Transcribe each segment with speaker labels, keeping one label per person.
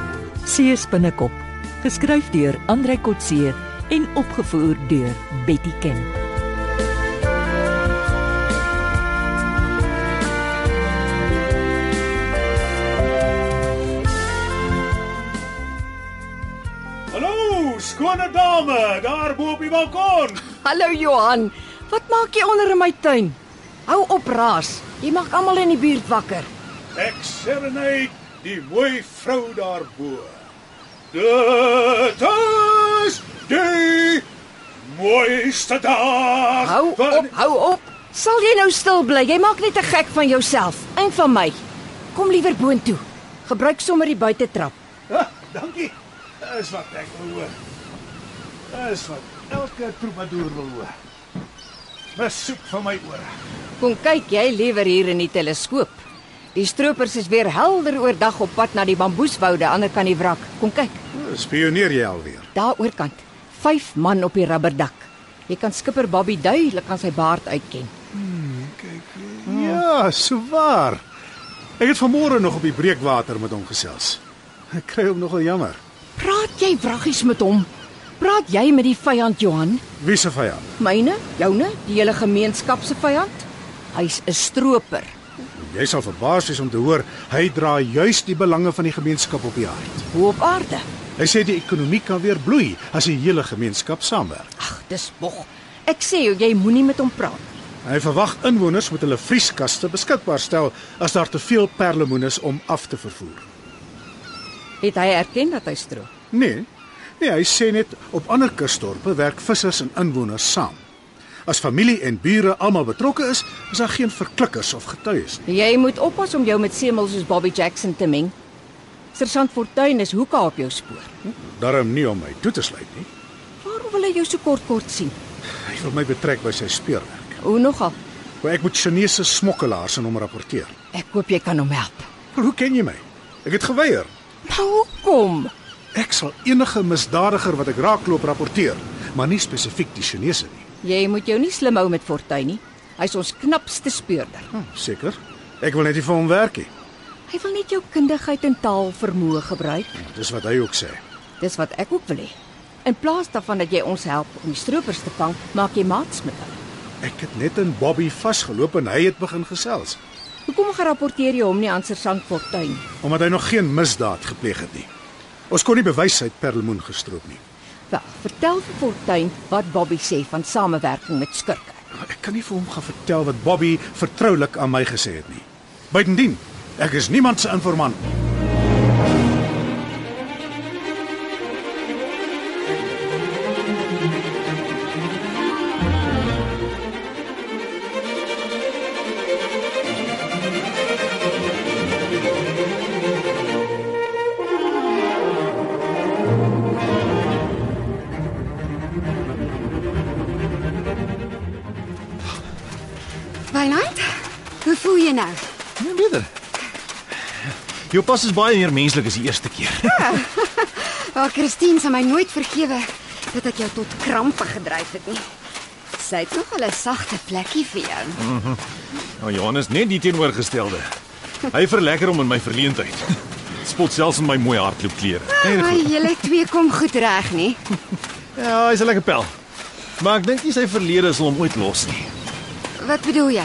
Speaker 1: Kotse se binnekop, geskryf deur Andrei Kotse en opgevoer deur Betty Ken.
Speaker 2: Hallo, skone dame, daar bo op die balkon.
Speaker 3: Hallo Johan. Wat maak jy onder in my tuin? Hou op raas. Jy maak almal in die buurt wakker.
Speaker 2: Ek serenade die mooi vrou daar bo. Dit is die mooiste dag.
Speaker 3: Hou
Speaker 2: van-
Speaker 3: op, hou op. Sal jy nou stil bly? Jy maak net 'n gek van jouself en van my. Kom liewer boontoe. Gebruik sommer die buitetrap.
Speaker 2: Ah, dankie. Dis wat ek wil hoor. Dis wat elke troubadour wil hoor. Mes soep van my ore.
Speaker 3: Kom kyk jy liewer hier in die teleskoop. Die stroopers is weer helder oordag op pad na die bamboeswoude aan die ander kant die wrak. Kom kyk,
Speaker 2: Spioneer jy alweer?
Speaker 3: daar oorkant. Vyf man op die rubberdak. Jy kan skipper Bobby duidelik aan sy baard uitken.
Speaker 2: Ja, so waar. Ek het vanmôre nog op die breekwater met hom gesels. Ek kry hom nogal jammer.
Speaker 3: Praat jy wraggies met hom? Praat jy met die vyand Johan?
Speaker 2: Wie se vyand?
Speaker 3: Myne, joune, die hele gemeenskap se vyand? Hy's 'n stroper.
Speaker 2: Jy sal verbaas wees om te hoor hy dra juis die belange van die gemeenskap op die hart.
Speaker 3: Hoe op aarde?
Speaker 2: Hy sê die ekonomie kan weer bloei as die hele gemeenskap saamwerk.
Speaker 3: Ag, dis bog. Ek sê jou, jy moenie met hom praat.
Speaker 2: Hy verwag inwoners moet hulle vrieskaste beskikbaar stel as daar te veel perlemoenes om af te vervoer.
Speaker 3: Het hy erken dat hy stroop?
Speaker 2: Nee. Nee, hy sê net op ander kusdorpe werk vissers en inwoners saam. As familie en bure almal betrokke is, is daar geen verklikkers of getuies nie.
Speaker 3: Jy moet oppas om jou met semels soos Bobby Jackson te meng. Sergeant Fortuin is hoeka op jou spoor.
Speaker 2: Daarom nie om my toe te sluit nie.
Speaker 3: Waarom wil hy jou so kort kort sien?
Speaker 2: Hy wil my betrek by sy speurwerk.
Speaker 3: Hoe nogal?
Speaker 2: Maar ek moet Chinese smokkelaars aan hom rapporteer.
Speaker 3: Ek hoop jy kan hom help.
Speaker 2: Maar hoe ken jy my? Ek het geweier.
Speaker 3: Maar hoekom?
Speaker 2: Ek sal enige misdadiger wat ek raakloop rapporteer, maar nie spesifiek die Chinese nie.
Speaker 3: Jy moet jou nie slim hou met Fortuin nie. Hy's ons knapste speurder.
Speaker 2: Hm, Seker. Ek wil net nie vir hom werk nie.
Speaker 3: Hy wil net jou kundigheid en taalvermoë gebruik.
Speaker 2: Dis wat hy ook sê.
Speaker 3: Dis wat ek ook wil hê. In plaas daarvan dat jy ons help om die stroopers te vang, maak jy maats met hulle.
Speaker 2: Ek het net in Bobby vasgeloop en hy het begin gesels
Speaker 3: Hoekom gerapporteer jy hom nie aan Sersant Fortuin?
Speaker 2: omdat hy nog geen misdaad gepleeg het nie. Ons kon nie bewys hy het perlemoen gestroop nie.
Speaker 3: Wel, vertel vir Fortuin wat Bobby sê van samewerking met skurke.
Speaker 2: Ek kan nie vir hom gaan vertel wat Bobby vertroulik aan my gesê het nie. Buitendien, ek is niemand se informant nie.
Speaker 4: Wynand, hoe voel jy nou?
Speaker 5: Ja, beter. Jou pas is baie meer menslik as die eerste keer.
Speaker 4: Wel, Oh, Christine sal my nooit vergewe dat ek jou tot krampe gedryf het nie. Sy het nog 'n sagte plekkie vir jou.
Speaker 5: Nou Johannes net die teenoorgestelde. Hy verlekker hom in my verleentheid. Spot selfs in my mooi hardloopklere. Nee, dit
Speaker 4: Maar
Speaker 5: goed.
Speaker 4: julle Oh, twee kom goed reg, nie?
Speaker 5: Ja, hy's 'n lekker pel. Maar ek dink nie sy verlede sal hom ooit los nie.
Speaker 4: Wat bedoel jy?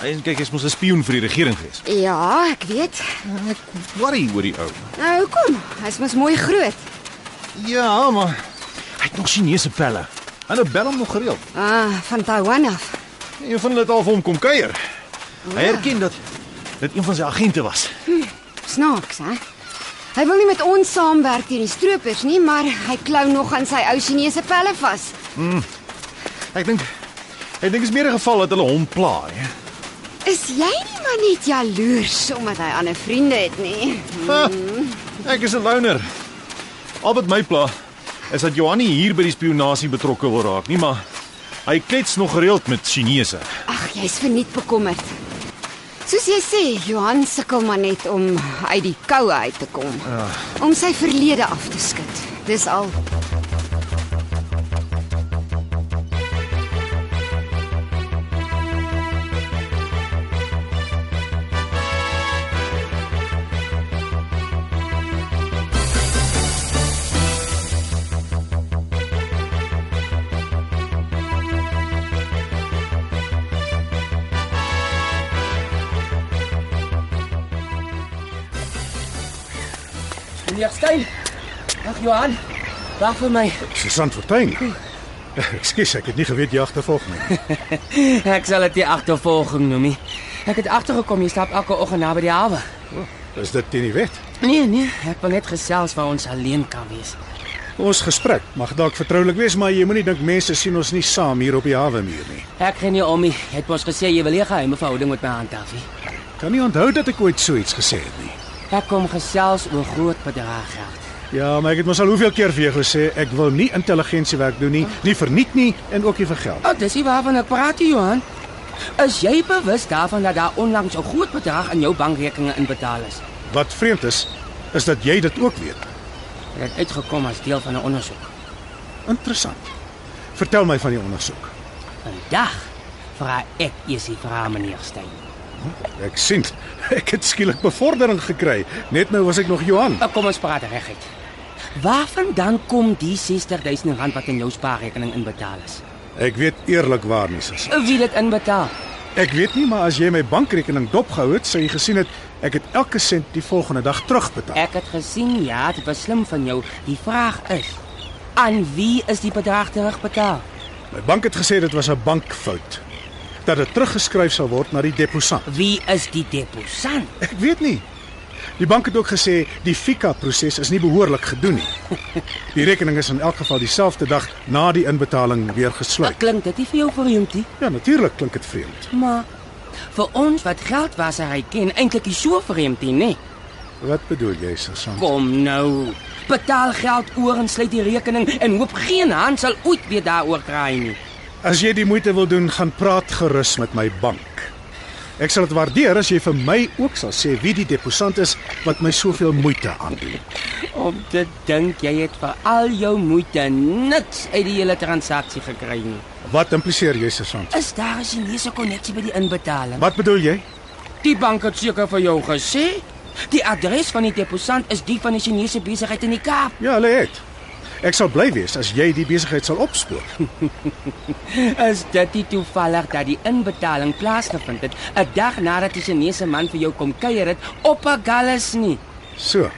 Speaker 5: Hy en kyk, hy's mos 'n spioen vir die regering gewees.
Speaker 4: Ja, ek weet.
Speaker 5: Ek worry oor die ou.
Speaker 4: Nou hoekom? Hy's mos mooi groot.
Speaker 5: Ja, maar hy het nog Chinese pelle. En hulle bel hom nog gereeld.
Speaker 4: Ah, van Taiwan af.
Speaker 5: Een van hulle het al vir hom kom kuier. Hy erken dat dit een van sy agente was.
Speaker 4: Snaaks, hè? Hy wil nie met ons saamwerk teen die stroopers nie, maar hy klou nog aan sy ou Chinese pelle vas.
Speaker 5: Hmm. Ek dink ek dink is meer 'n geval dat hulle hom pla, hè.
Speaker 4: Is jy nie maar net jaloers omdat hy ander vriende het nie? Hmm.
Speaker 5: Ha, Ek is 'n loner. Al wat my pla is dat Johanni hier by die spionasie betrokke wil raak, nie maar hy klets nog gereeld met Chinese.
Speaker 4: Ag, jy's verniet bekommerd. Soos jy sê, Johan sukkel maar net om uit die koue uit te kom. Ja. Om sy verlede af te skud. Dis al.
Speaker 6: Dag Stein. Dag Johan. Dag vir my.
Speaker 2: Susan Fortuin. Ekskuus, ek het nie geweet jy agtervolg my.
Speaker 6: Ek sal dit nie agtervolging noem nie. Ek het agtergekom jy stap elke oggend na by die hawe.
Speaker 2: Is dit teen die wet?
Speaker 6: Nee, nee, ek wil net gesels waar ons alleen kan wees.
Speaker 2: Ons gesprek mag dalk vertroulik wees, maar jy moenie dink mense sien ons nie saam hier op die hawe muur nie.
Speaker 6: Ek gee nie om nie. Jy het mos gesê jy wil nie geheime verhouding met my handhaaf nie.
Speaker 2: Kan nie onthou dat ek ooit so iets gesê het nie.
Speaker 6: Ek kom gesels oor groot bedrag geld.
Speaker 2: Ja, maar ek het mos al hoeveel keer vir jou gesê ek wil nie intelligensiewerk doen nie, nie verniet nie en ook nie vir geld.
Speaker 6: Oh, dis nie waarvan ek praat nie, Johan. Is jy bewus daarvan dat daar onlangs 'n groot bedrag in jou bankrekeninge inbetaal is?
Speaker 2: Wat vreemd is, is dat jy dit ook weet.
Speaker 6: Dit het uitgekom as deel van 'n ondersoek.
Speaker 2: Interessant. Vertel my van die ondersoek.
Speaker 6: Vandag vra ek eers die vraag meneer Stein.
Speaker 2: Ek sien ek het skielik bevordering gekry. Net nou was ek nog Johan.
Speaker 6: Maar kom ons praat reguit. Waarvandaan kom die 60000 rand wat in jou spaarrekening inbetaal is?
Speaker 2: Ek weet eerlikwaar nie, sussie.
Speaker 6: Wie het dit inbetaal?
Speaker 2: Ek weet nie, maar as jy my bankrekening dopgehou het, sou jy gesien het ek het elke sent die volgende dag terugbetaal.
Speaker 6: Ek het gesien ja, dit was slim van jou. Die vraag is aan wie is die bedrag terugbetaal?
Speaker 2: My bank het gesê dit was 'n bankfout. Dat dit teruggeskryf sal word na die deposant.
Speaker 6: Wie is die deposant?
Speaker 2: Ek weet nie. Die bank het ook gesê die FICA proses is nie behoorlik gedoen nie. Die rekening is in elk geval dieselfde dag na die inbetaling weer
Speaker 6: Wat
Speaker 2: gesluit.
Speaker 6: klink dit nie vir jou vreemd nie?
Speaker 2: Ja, natuurlik klink dit vreemd.
Speaker 6: Maar vir ons wat geld was hy ken eintlik nie so vreemd nie, nê?
Speaker 2: Wat bedoel jy, Susan?
Speaker 6: Kom nou. Betaal geld oor en sluit die rekening en hoop geen hand sal ooit weer daaroor kraai nie.
Speaker 2: As jy die moeite wil doen, gaan praat gerus met my bank. Ek sal dit waardeer as jy vir my ook sal sê wie die deposant is wat my soveel moeite aandoen.
Speaker 6: Om te dink jy het vir al jou moeite niks uit die hele transaksie gekry nie.
Speaker 2: Wat impliseer jy, Susan?
Speaker 6: Is daar 'n Chinese koneksie by die inbetaling?
Speaker 2: Wat bedoel jy?
Speaker 6: Die bank het seker vir jou gesê die adres van die deposant is die van 'n Chinese besigheid in die Kaap.
Speaker 2: Ja, hulle het. Ek sal bly wees as jy die besigheid sal opspoor.
Speaker 6: Is dit nie toevallig dat die inbetaling plaasgevind het 'n dag nadat die Chinese man vir jou kom kuier het op Agallas nie?
Speaker 2: So.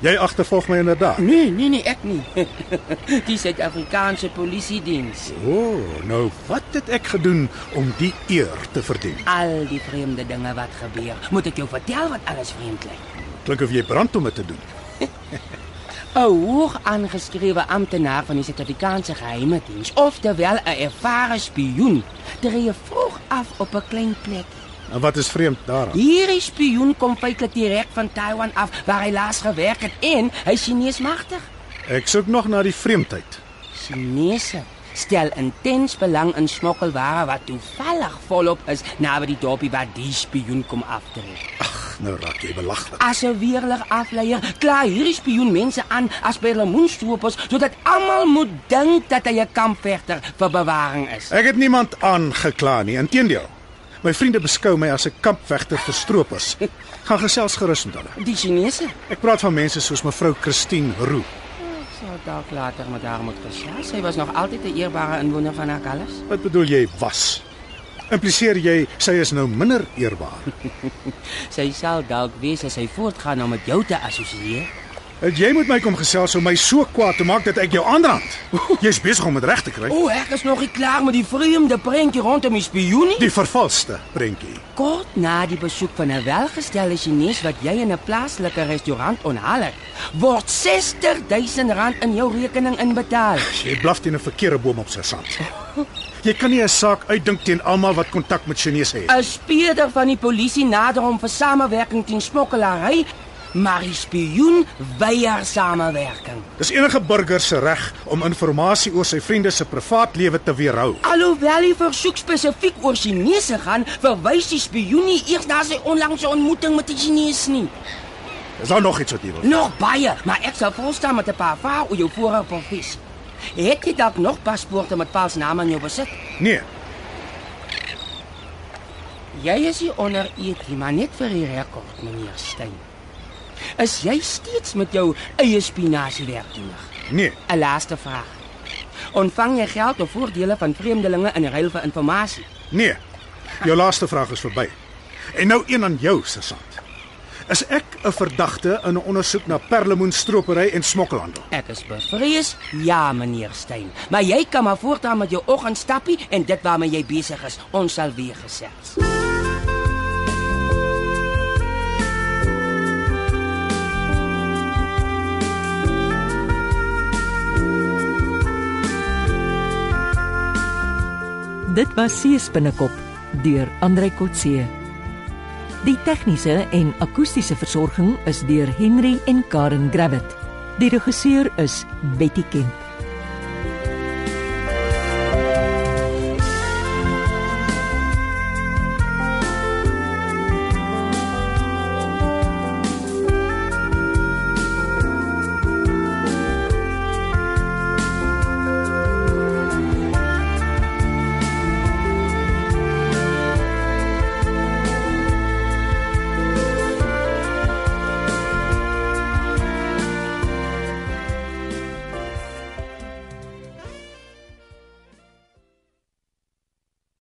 Speaker 2: Jy agtervolg my inderdaad.
Speaker 6: Nee, nee, nee, ek nie. die Suid-Afrikaanse polisie diens.
Speaker 2: O, oh, nou wat het ek gedoen om die eer te verdien?
Speaker 6: Al die vreemde dinge wat gebeur. Moet ek jou vertel wat alles vreemd lyk?
Speaker 2: Klink of jy brand om dit te doen.
Speaker 6: 'n hoog aangeskrewe amptenaar van die Suid-Afrikaanse Geheime Diens, oftewel 'n ervare spioen, tree vroeg af op 'n klein plek.
Speaker 2: En wat is vreemd daaraan?
Speaker 6: Hierdie spioen kom feitelik direk van Taiwan af waar hy laas gewerk het en hy's Chinees magtig.
Speaker 2: Ek soek nog na die vreemdheid.
Speaker 6: Chinese stel intens belang in smokkelware wat toevallig volop is naby die dorpie waar die spioen kom aftrek.
Speaker 2: Nou raak jy belaglik.
Speaker 6: As 'n weerlig afleier, kla hierdie spioen mense aan as by lemoenstoopers sodat almal moet dink dat hy 'n kampvegter vir bewaring is.
Speaker 2: Ek het niemand aangekla nie, inteendeel. My vriende beskou my as 'n kampvegter vir stroopers. Gaan gesels gerus met hulle.
Speaker 6: Die Chinese
Speaker 2: Ek praat van mense soos mevrou Christine Roo.
Speaker 6: sou dalk later met haar moet gesels. Sy was nog altyd 'n eerbare inwoner van Agallas.
Speaker 2: Wat bedoel jy was? Impliseer jy sy is nou minder eerbaar?
Speaker 6: Sy sal dalk wees as sy voortgaan om met jou te assosieer.
Speaker 2: Het jy moet my kom gesels om my so kwaad te maak dat ek jou aanrand? Jy's besig om dit reg te kry.
Speaker 6: O, ek is nog nie klaar met die vreemde prentjie rondom die spioen nie.
Speaker 2: Die vervalste prentjie.
Speaker 6: Kort na die besoek van 'n welgestelde Chinees wat jy in 'n plaaslike restaurant onthaal het, word R60000 in jou rekening inbetaal.
Speaker 2: Jy blaf teen 'n verkeerde boom op sy sand. Jy kan nie 'n saak uitdink teen almal wat kontak met Chinese het.
Speaker 6: 'n Speurder van die polisie nader hom vir samewerking teen smokkelary, maar die spioen weier samewerking.
Speaker 2: Dis enige burger se reg om inligting oor sy vriende se privaatlewe te weerhou.
Speaker 6: Alhoewel die versoek spesifiek oor Chinese gaan, verwys die spioen nie eers na sy onlangse ontmoeting met die Chinees nie.
Speaker 2: Is daar nog iets wat jy wil?
Speaker 6: Nog baie, maar ek sal volstaan met 'n paar vrae oor jou vorige professie. Het jy dalk nog paspoorte met Paul se naam in jou besit?
Speaker 2: Nee,
Speaker 6: Jy is hier onder eet, nie, maar net vir die rekord, meneer Stein. Is jy steeds met jou eie spinasie werktoenig?
Speaker 2: nee.
Speaker 6: 'n Laaste vraag. Ontvang jy geld of voordele van vreemdelinge in ruil vir inligting?
Speaker 2: Nee. Jou laaste vraag is verby. En nou een aan jou, Sasant. Is ek 'n verdagte in 'n ondersoek na perlemoenstropery en smokkelhandel?
Speaker 6: Ek is bevrees, ja meneer Stein, maar jy kan maar voortaan met jou oggendstappie en dit waarmee jy besig is, ons sal weer gesels.
Speaker 1: Dit was Sees binnekop deur Andrei Kotse. Die tegniese en akoestiese versorging is deur Henry en Karen Gravett. Die regisseur is Betty Kemp.